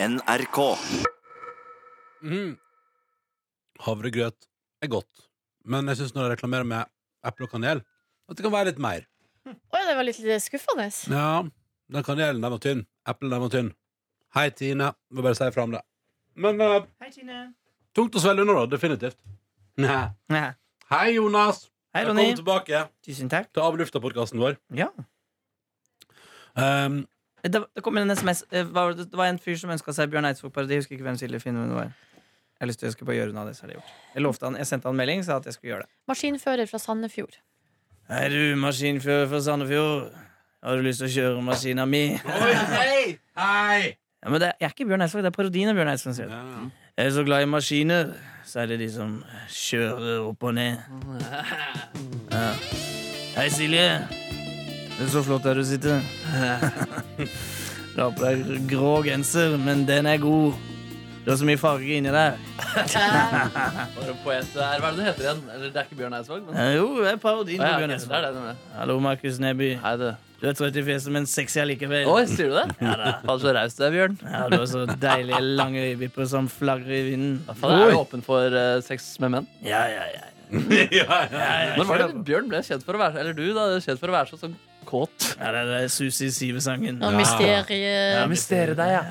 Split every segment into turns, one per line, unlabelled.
NRK.
Mm. Havregrøt er godt, men jeg syns når jeg reklamerer med eple og kanel, at det kan være litt mer.
Oi, det var litt skuffende.
Ja, den kanelen den var tynn. Eplen den var tynn. Hei, Tine. Må bare si fra om det. Men eh,
Hei, Tine.
tungt å svelge under, da. Definitivt. Nei. Hei, Jonas.
Hei, Ronny.
Velkommen tilbake
Tusen takk.
til Avlufta-podkasten vår.
Ja.
Um,
Det, det kom inn en SMS. eh, var Det det var en fyr som ønska seg Bjørn Eidsvåg-parodi. Jeg Husker ikke hvem Silje Finnvund var. Jeg har lyst til jeg skal bare gjøre unna det, så er det gjort. Jeg lovte han, jeg sendte han melding, sa at jeg skulle gjøre det.
Maskinfører fra Sandefjord.
Er du maskinfører fra Sandefjord? Har du lyst til å kjøre maskina mi?
hei! Hei!
Ja, men det er ikke Bjørn Eidsvåg, det er parodien av Bjørn Eidsvåg. sier jeg.
Ja.
Jeg er så glad i maskiner, så er det de som kjører opp og ned. Ja. Hei, Silje. Det er så flott der du sitter. Du har på deg grå genser, men den er god. Du har så mye farge inni der.
Bare poet her. Hva er det du heter igjen? Eller det er ikke Bjørn Eidsvåg? Men...
Eh, Jo, det er parodien
Å, ja,
av
ok,
Bjørn
så det
Eidsvåg.
er det, det er det.
Hallo, Markus Neby.
Hei, du.
Du er trøtt i fjeset, men sexy allikevel.
Oi, sier du det? Ja, da. Faen, så raus du er, Bjørn.
Ja, du har så deilige lange øyevipper som flagrer i vinden.
Faen, jeg er jo åpen for eh, sex med menn.
Ja, ja, ja.
ja, ja.
Når var det Bjørn ble kjent for å være Eller du, da. Kjent for å være så sånn kåt.
Ja, det er Susi Sive-sangen.
Og mysterie...
mystere deg, ja.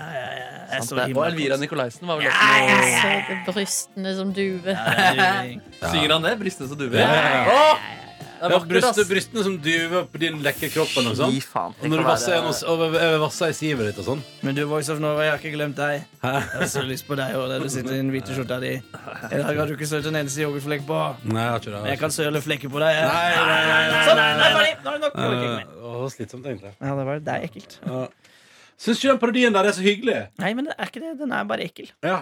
Jeg så
Sant det. Og
himmelen.
Elvira Nikolaisen var vel også noe
Søte brystene som duve.
Synger han det? Brystene som duver?
Ja, ja,
Åh! Det er
Ja,
vakkert, ass.
brystet, brystene som duver på din lekre kropp. Og noe sånt.
Fy faen,
Og når du
kan
vasser
være-
gjennom og- og- vasser i sivet ditt og sånn.
Men du, Voice of Norway, jeg har ikke glemt deg. Jeg har så lyst på deg og der du sitter i den hvite skjorta di. I dag har du ikke sølt en eneste yoghurtflekk på.
Nei, jeg har ikke det. altså.
Men jeg kan søle flekker på deg. jeg.
Nei, nei, nei, nei,
Sånn, nå er det ferdig. Nå er det nok. Jeg orker ikke mer.
Eh, å, slitsomt, egentlig.
Ja, det, var, det er ekkelt.
Ja. Syns ikke den parodien der er så hyggelig?
Nei, men det er ikke det. Den er bare ekkel.
Ja,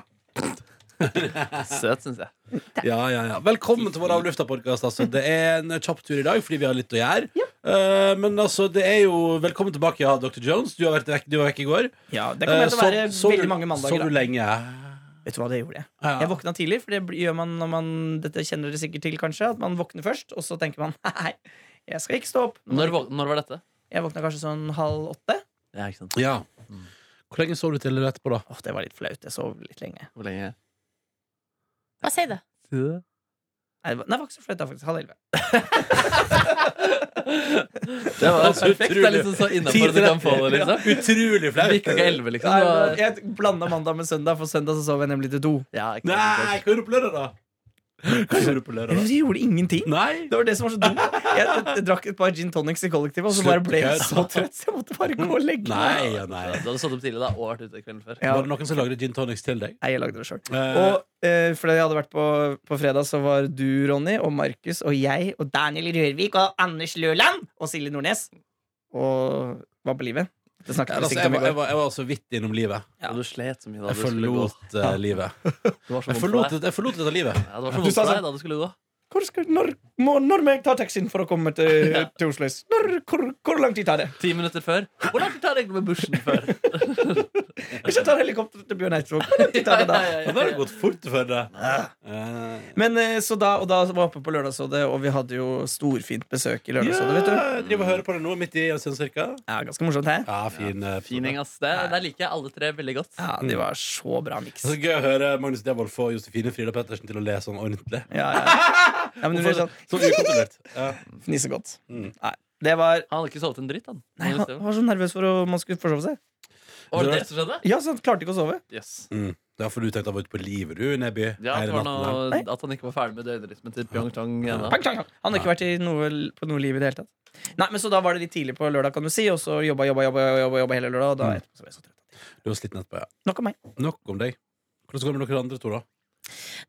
Søt, syns jeg.
ja, ja, ja. Velkommen til vår Avlufta-podkast. Altså. Det er en kjapp tur i dag fordi vi har litt å gjøre. Eh, men altså, det er jo Velkommen tilbake, ja, Dr. Jones. Du, har vært vekk, du var vekk i går. Eh,
Ja, Det kommer til å være veldig mange
Så du
mandager. Da.
lenge?
Vet du hva det gjorde? Jeg
Ja.
Jeg våkna tidlig, for det blir- gjør man når man Dette kjenner dere sikkert til, kanskje. At man våkner først, og så tenker man nei, jeg skal ikke stå opp.
Når, våk- når var dette?
Jeg våkna kanskje sånn halv åtte.
Ja, ikke sant.
Ja. Hvor lenge sov du til etterpå, da?
Åh, det var litt flaut. Jeg sov litt lenge.
Hvor lenge?
Hva sier det?
Nei, det var, nei, det var ikke så flaut, da, faktisk. Halv elleve.
Det var
Altså,
perfekt. Det er
utrolig.
liksom så innafor du kan få det, liksom.
Ja, utrolig
Det
flaut.
virka ikke elleve, liksom.
Nei,
Det var-
men Jeg blanda mandag med søndag, for søndag så sov jeg nemlig til to.
Ja, ikke
Nei, hva
sant.
gjorde du på lørdag, da? Hva gjorde du på lørdag, da?
Jeg gjorde ingenting.
Nei!
Det var det som var så dumt. Jeg, jeg, jeg drakk et par gin tonics i kollektivet, og så bare ble jeg så trøtt, så jeg måtte bare gå og legge
Nei,
meg.
ja, nei.
Du hadde stått opp tidlig da og vært ute kvelden før.
Ja.
Var det noen som lagde gin tonics til deg?
Nei, jeg lagde det sjøl.
Eh,
Og eh, for det jeg hadde vært på på fredag, så var du, Ronny, og Markus og jeg og Daniel Rørvik og Anders Løland og Silje Nordnes og var på livet. Det
Ja,
snakket vi
altså,
sikkert
jeg,
om i
var, jeg,
går.
var, jeg var så vidt innom livet.
Ja.
Og du slet så mye da
Jeg
du skulle gå.
forlot eh, livet.
Det var
Jeg
så vondt for
forlot,
deg.
jeg forlot dette livet.
Ja, det var så
Du
vondt
sa
for
sånn-
deg da du skulle gå.
Hvor skal, når, må, når må jeg ta taxien for å komme til, til Oslo S? Når, hvor, hvor lang tid tar det?
Ti minutter før. Hvor langt tar det egentlig med bussen før?
Hvis jeg tar helikopter til Bjørn Eidsvåg, hvor lang tid tar det da?
Ja, ja,
Og da
ja,
har det
ja.
gått fort for det. Eh,
Men eh, så da, og da var jeg oppe på Lørdagsrådet, og vi hadde jo storfint besøk i
ja,
Lørdagsrådet, vet du.
jeg driver og hører på det nå, midt i en stund cirka.
Ja, ganske morsomt her.
Ja, fin, eh,
Fin gjeng, ass. Det, der liker jeg alle tre veldig godt.
Ja, Altså- de var så bra miks.
Det er så gøy å høre Magnus Devold få Josefine Frida Pettersen til å le sånn ordentlig.
Ja, ja. ja, men det ble
Sånn
sånn
ukontrollert. Ja.
fnisegodt.
Mm.
Nei, det var
Han hadde ikke sovet en dritt, han.
Nei, han han var så nervøs for å man skulle forsove seg.
Var det det som skjedde?
Ja, så han klarte ikke å sove.
Yes.
Mm. Derfor du tenkte han var ute på livet, du, Neby.
Ja, det
hele
var
natten her.
noe, at han ikke var ferdig med døgnrytmen til Pyeongchang ennå.
Pang, pang, pang. Han har ikke vært i noe, på noe liv i det hele tatt. Nei, men Så da var det litt tidlig på lørdag, kan du si, og så jobba, jobba, jobba, jobba, jobba hele lørdag. Og da
Mm.
etterpå så ble jeg så trøtt.
Du var sliten etterpå, ja.
Nok om meg.
Nok om deg. Hvordan går det med dere andre to, da?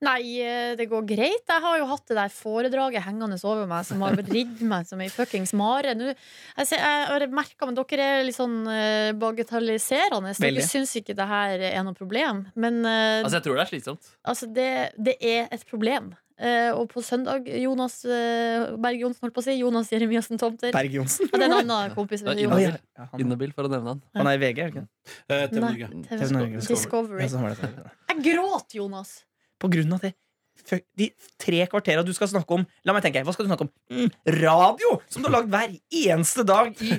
Nei, eh, det går greit. Jeg har jo hatt det der foredraget hengende over meg som har ridd meg som ei fuckings mare. Nå, jeg, ser, jeg har merka, men dere er litt sånn eh, bagatelliserende.
Veldig.
Dere syns ikke det her er noe problem. Men eh,
Altså, jeg tror det er slitsomt.
Altså, det, det er et problem. Eh, og på søndag Jonas eh, Berg Johnsen, holdt på å si. Jonas Jeremiassen Tomter.
Berg Johnsen.
Og det er en annen kompis.
Det er
Å,
Jonas.
ja. Ja, han,
Inhabil, for å nevne han.
han er i VG, er det ikke det?
Eh, TV
Nei,
Norge.
TV
TV Norge.
Discovery.
Ja, så var det det.
Jeg gråt, Jonas.
På grunn av det. Fø- De tre kvartera du skal snakke om La meg tenke, hva skal du snakke om? Mm, radio! Som du har lagd hver eneste dag i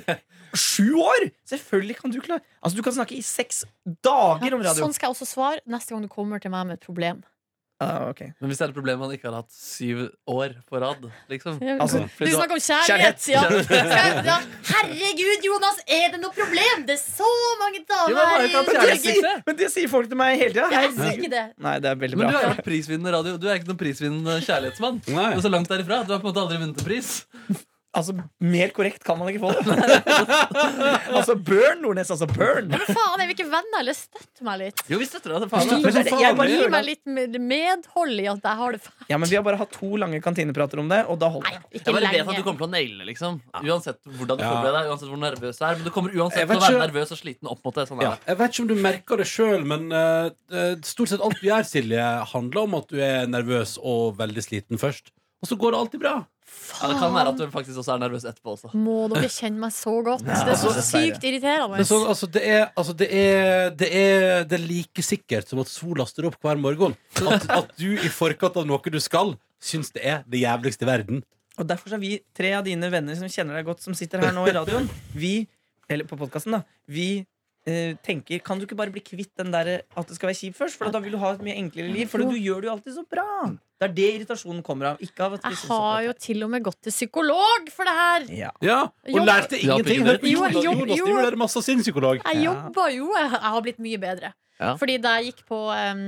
sju år! Selvfølgelig kan du klare Altså, du kan snakke i seks dager om
Ja,
radio.
sånn skal jeg også svare neste gang du kommer til meg med et problem.
Ah, ok.
Men hvis det er et problem man ikke har hatt syv år på rad, liksom
Altså,
du snakker om kjærlighet! Ja.
Kjærlighet.
Skal jeg- ja. Herregud, Jonas, er det noe problem? Det er så mange
Jo,
damer i
men bare kan
men, det
kjærlighet-
Norge!
sier, men det sier folk til meg hele tida.
Jeg sier ikke det.
Nei, det er veldig
Men du
bra.
har jo vært prisvinnende radio. Du er ikke noen prisvinnende kjærlighetsmann.
Nei.
Du er så langt derifra. Du har på en måte aldri vunnet en pris.
Altså, Mer korrekt kan man ikke få det. altså, burn, Nordnes. Altså, burn.
Faen, jeg vil ikke venner eller støtte meg litt.
Jo, vi støtter deg.
Men det er det- jeg bare
Gi
føler
meg
at-
litt med- medhold i at jeg har det fælt.
Ja, men Vi har bare hatt to lange kantineprater om det, og da holder det.
Ikke
Jeg bare vet at du
lenge.
kommer til å naile det, liksom. Uansett hvordan du
Ja.
forbereder deg, uansett hvor nervøs du er. Men du kommer
Jeg vet
uansett til å være
ikke-
nervøs og sliten opp mot det. Sånn er
Ja.
det.
Eh, Jeg vet ikke om du merker det sjøl, men eh, eh, stort sett alt du gjør, Silje, handler om at du er nervøs og veldig sliten først. Og så går det alltid bra.
Ja, det kan være at du faktisk også er nervøs etterpå også.
Må dere kjenne meg så godt? Det er så
dessverre.
sykt irriterende.
Men så, altså, det, er, altså, det, er, det, er, det er like sikkert som at sola står opp hver morgen. At, at du i forkant av noe du skal, syns det er det jævligste i verden.
Og derfor så er vi tre av dine venner som kjenner deg godt, som sitter her nå i radioen. Vi, eller på podcasten da Vi eh, tenker Kan du ikke bare bli kvitt den der at det skal være kjipt først? For da vil du ha et mye enklere liv. For du gjør det jo alltid så bra. Det er det irritasjonen kommer av. Ikke av at vi
Jeg
synes
har jo
at
til og med gått til psykolog for det her!
det er- ja.
Ja,
Jo.
Og lærte
Ja,
ingenting.
fikk
Hør på
du
det?
Jonas.
Jo, jo,
Jonas
jo.
driver der masse sin psykolog.
Jeg
Ja.
jobber jo. Jeg jeg har blitt mye bedre.
Ja.
Fordi da jeg gikk på em,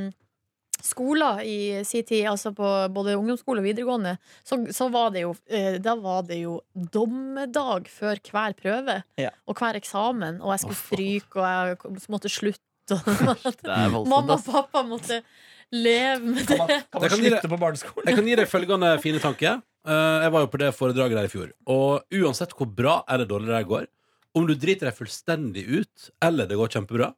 skoler i sin tid, altså på både ungdomsskole og videregående, så, så var det jo eh, Da var det jo dommedag før hver prøve
Ja.
og hver eksamen, og jeg skulle stryke, og jeg kom- måtte slutte. og
Det er
Mamma og
voldsomt. ass.
pappa måtte leve med det.
Kan man, kan
Det
man
kan gi
slutte på barneskolen?
Jeg kan gi deg følgende fine tanke. Eh, jeg var jo på det foredraget der i fjor. Og uansett hvor bra eller dårlig det går, om du driter deg fullstendig ut, eller det går kjempebra,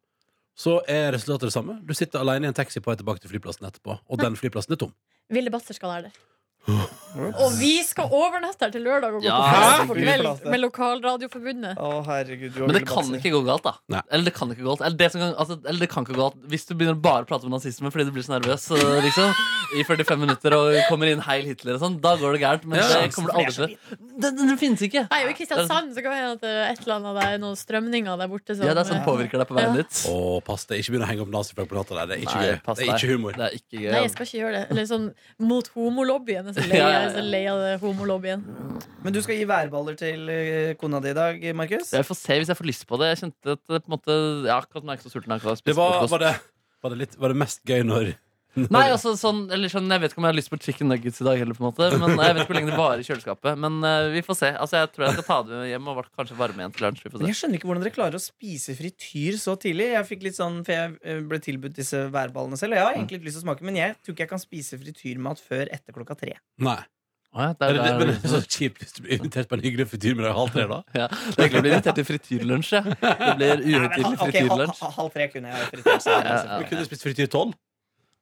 så er resultatet det samme. Du sitter alene i en taxi på vei tilbake til flyplassen etterpå, og den flyplassen er tom.
Ville Batzer skal være der. Og vi skal overnatte her til lørdag og gå
Ja,
på fest på
herregud.
kveld med Lokalradioforbundet.
Å, herregud. du har
Men det
veldig
kan
bakser.
ikke gå galt, da.
Nei.
Eller det kan ikke gå galt eller det, som kan, altså, eller det kan ikke gå galt Hvis du begynner bare å prate om nazisme fordi du blir så nervøs eh, liksom, i 45 minutter og kommer inn heil Hitler og sånn, da går det gærent. Men
Ja.
det kommer det aldri til. Den, den finnes ikke.
Nei, og i Kristiansand så kan det hende at det er et eller annet der, noen strømninger der borte. Som, eh,
Ja, det er sånn påvirker deg på veien dit.
Å, pass deg. Ikke begynn å henge opp naziflagg på natta der. Det er ikke,
Nei,
gøy.
pass
Det er ikke
deg.
humor.
Det er ikke gøy.
Nei, jeg skal ikke gjøre det. Eller sånn mot homolobbyen. Jeg er Så lei, jeg er
Ja, ja, ja.
så lei av det homolobbyen.
Men du skal gi værballer til eh, kona di i dag, Markus?
Jeg får se hvis jeg får lyst på det. Jeg kjente at det på en måte Ja, akkurat nå er jeg ikke så sulten. Jeg har ikke
Det
spist
var,
frokost.
var, det, var, det litt, var det mest gøy når
Nei, altså sånn, eller sånn Jeg vet ikke om jeg har lyst på chicken nuggets i dag heller, på en måte. Men jeg vet ikke hvor lenge det varer i kjøleskapet. Men eh, vi får se. Altså, jeg tror jeg skal ta det med hjem og var- kanskje varme igjen til lunsj. Vi får
Men
se.
jeg skjønner ikke hvordan dere klarer å spise frityr så tidlig. Jeg fikk litt sånn, for jeg eh, ble tilbudt disse værballene selv. og Jeg har egentlig ikke lyst til å smake, men jeg tror ikke jeg kan spise frityrmat før etter klokka tre.
Nei.
Å ja, det
Er
er,
det,
der-
men det er så kjipt hvis du blir invitert på en hyggelig frityrmiddag halv tre, da.
ja, det er egentlig å bli invitert til frityrlunsj, ja. Det blir uhøytidelig
Ok, hal-
frityrlunsj.
hal- halv tre kunne jeg frityr. så jeg
Ja,
Du
ja.
altså-
kunne spist frityr tolv.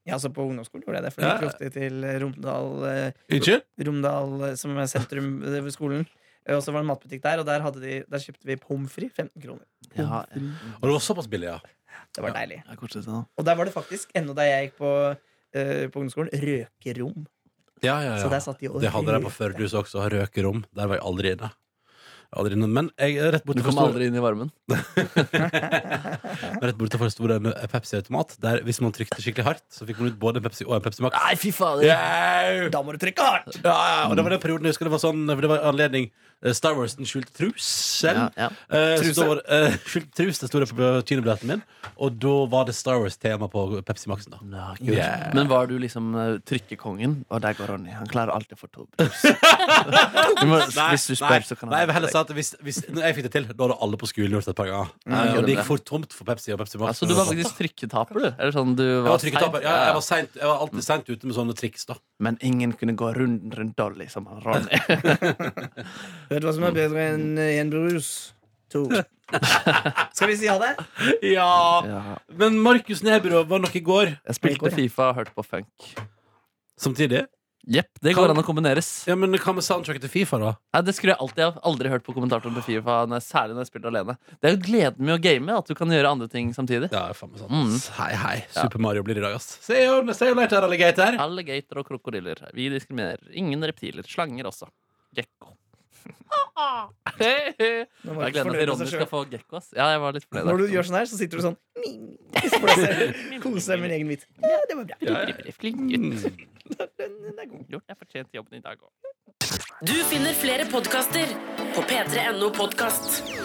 Ja, altså På ungdomsskolen gjorde jeg det, for det
Ja.
gikk jo ofte til Romdal, eh,
Unnskyld?
Romdal eh, som er sentrum eh, ved skolen. Eh, Og så var det en matbutikk der, og der, hadde de, der kjøpte vi pommes frites. 15 kroner.
Ja,
Og det var såpass billig, ja.
Det var deilig.
jeg koser meg da.
Og der var det faktisk, ennå da jeg gikk på, eh, på ungdomsskolen, røkerom.
Ja, ja,
Så der satt de og
Det hadde de på
røkte.
Førdehus også, røkerom. Der var jeg aldri inne. Jeg var Aldri inne. Men jeg, er rett
Du
borte for
kommer
stor,
aldri inn i varmen.
rett borte for stor en Pepsi-automat, der hvis man trykte skikkelig hardt, så fikk man ut både en Pepsi og en Pepsi Max.
Nei, fy fader!
Yeah!
Da må du trykke hardt!
Ja, ja, og det var den perioden jeg husker det var sånn For det var anledning eh, Star Wars den skjulte trusen.
Ja, ja.
Eh, så
Truse.
da var, eh, skjult trus, det sto det på kinobilletten min. Og da var det Star Wars-tema på Pepsi Maxen. da
Ja, kult.
Yeah.
Men var du liksom eh, trykkekongen? Og der går Ronny. Han klarer alltid å få to brus. Du må- Hvis du spør, så kan
nei, jeg
han
vil heller si at hvis, hvis når jeg fikk det til, da hadde alle på skolen gjort det et par ganger.
Ja,
Eh,
ok,
og det
det
gikk
ble.
for tomt for Pepsi og Pepsi Max.
Altså, du var faktisk trykketaper, du. Eller sånn, du
Jeg var
var
trykketaper.
sein.
Ja, jeg, var sent, jeg var
Mm.
alltid seint ute med sånne triks. da
Men ingen kunne gå runden rundt Dolly som han Ronny.
Vet du hva som er bedre enn
Mm.
én brus? To. Skal vi si ha det?
Ja,
Ja.
Men Markus Nebyrå var nok i går.
Jeg spilte Fifa og hørte på funk.
Samtidig?
Jepp, det går an å kombineres.
Ja, men Hva med soundtracket til Fifa, da?
Nei, det skrur jeg alltid av. Aldri hørt på kommentatoren på Fifa, når- særlig når jeg spiller alene. Det er jo gleden med å game, at du kan gjøre andre ting samtidig.
Ja, faen meg sant.
Mm.
Hei, hei. Super Mario blir det i dag, ass. Se jo, se jo later, alligator.
Alligator og krokodiller. Vi diskriminerer. Ingen reptiler. Slanger også. Gekko. Hei, hei.
Nå må ikke
Jeg gleder meg til
fornøye
Ronny
seg
skal
selv.
få gekko. ass. Ja, jeg var litt fornøyd.
Når du gjør sånn her, så sitter du sånn Så får jeg se- Kose deg med min egen vits. Ja, det var bra.
Flink gutt.
Den er god.
Mm. Gjort. Jeg fortjente jobben i dag òg.
Du finner flere podkaster på p3.no podkast.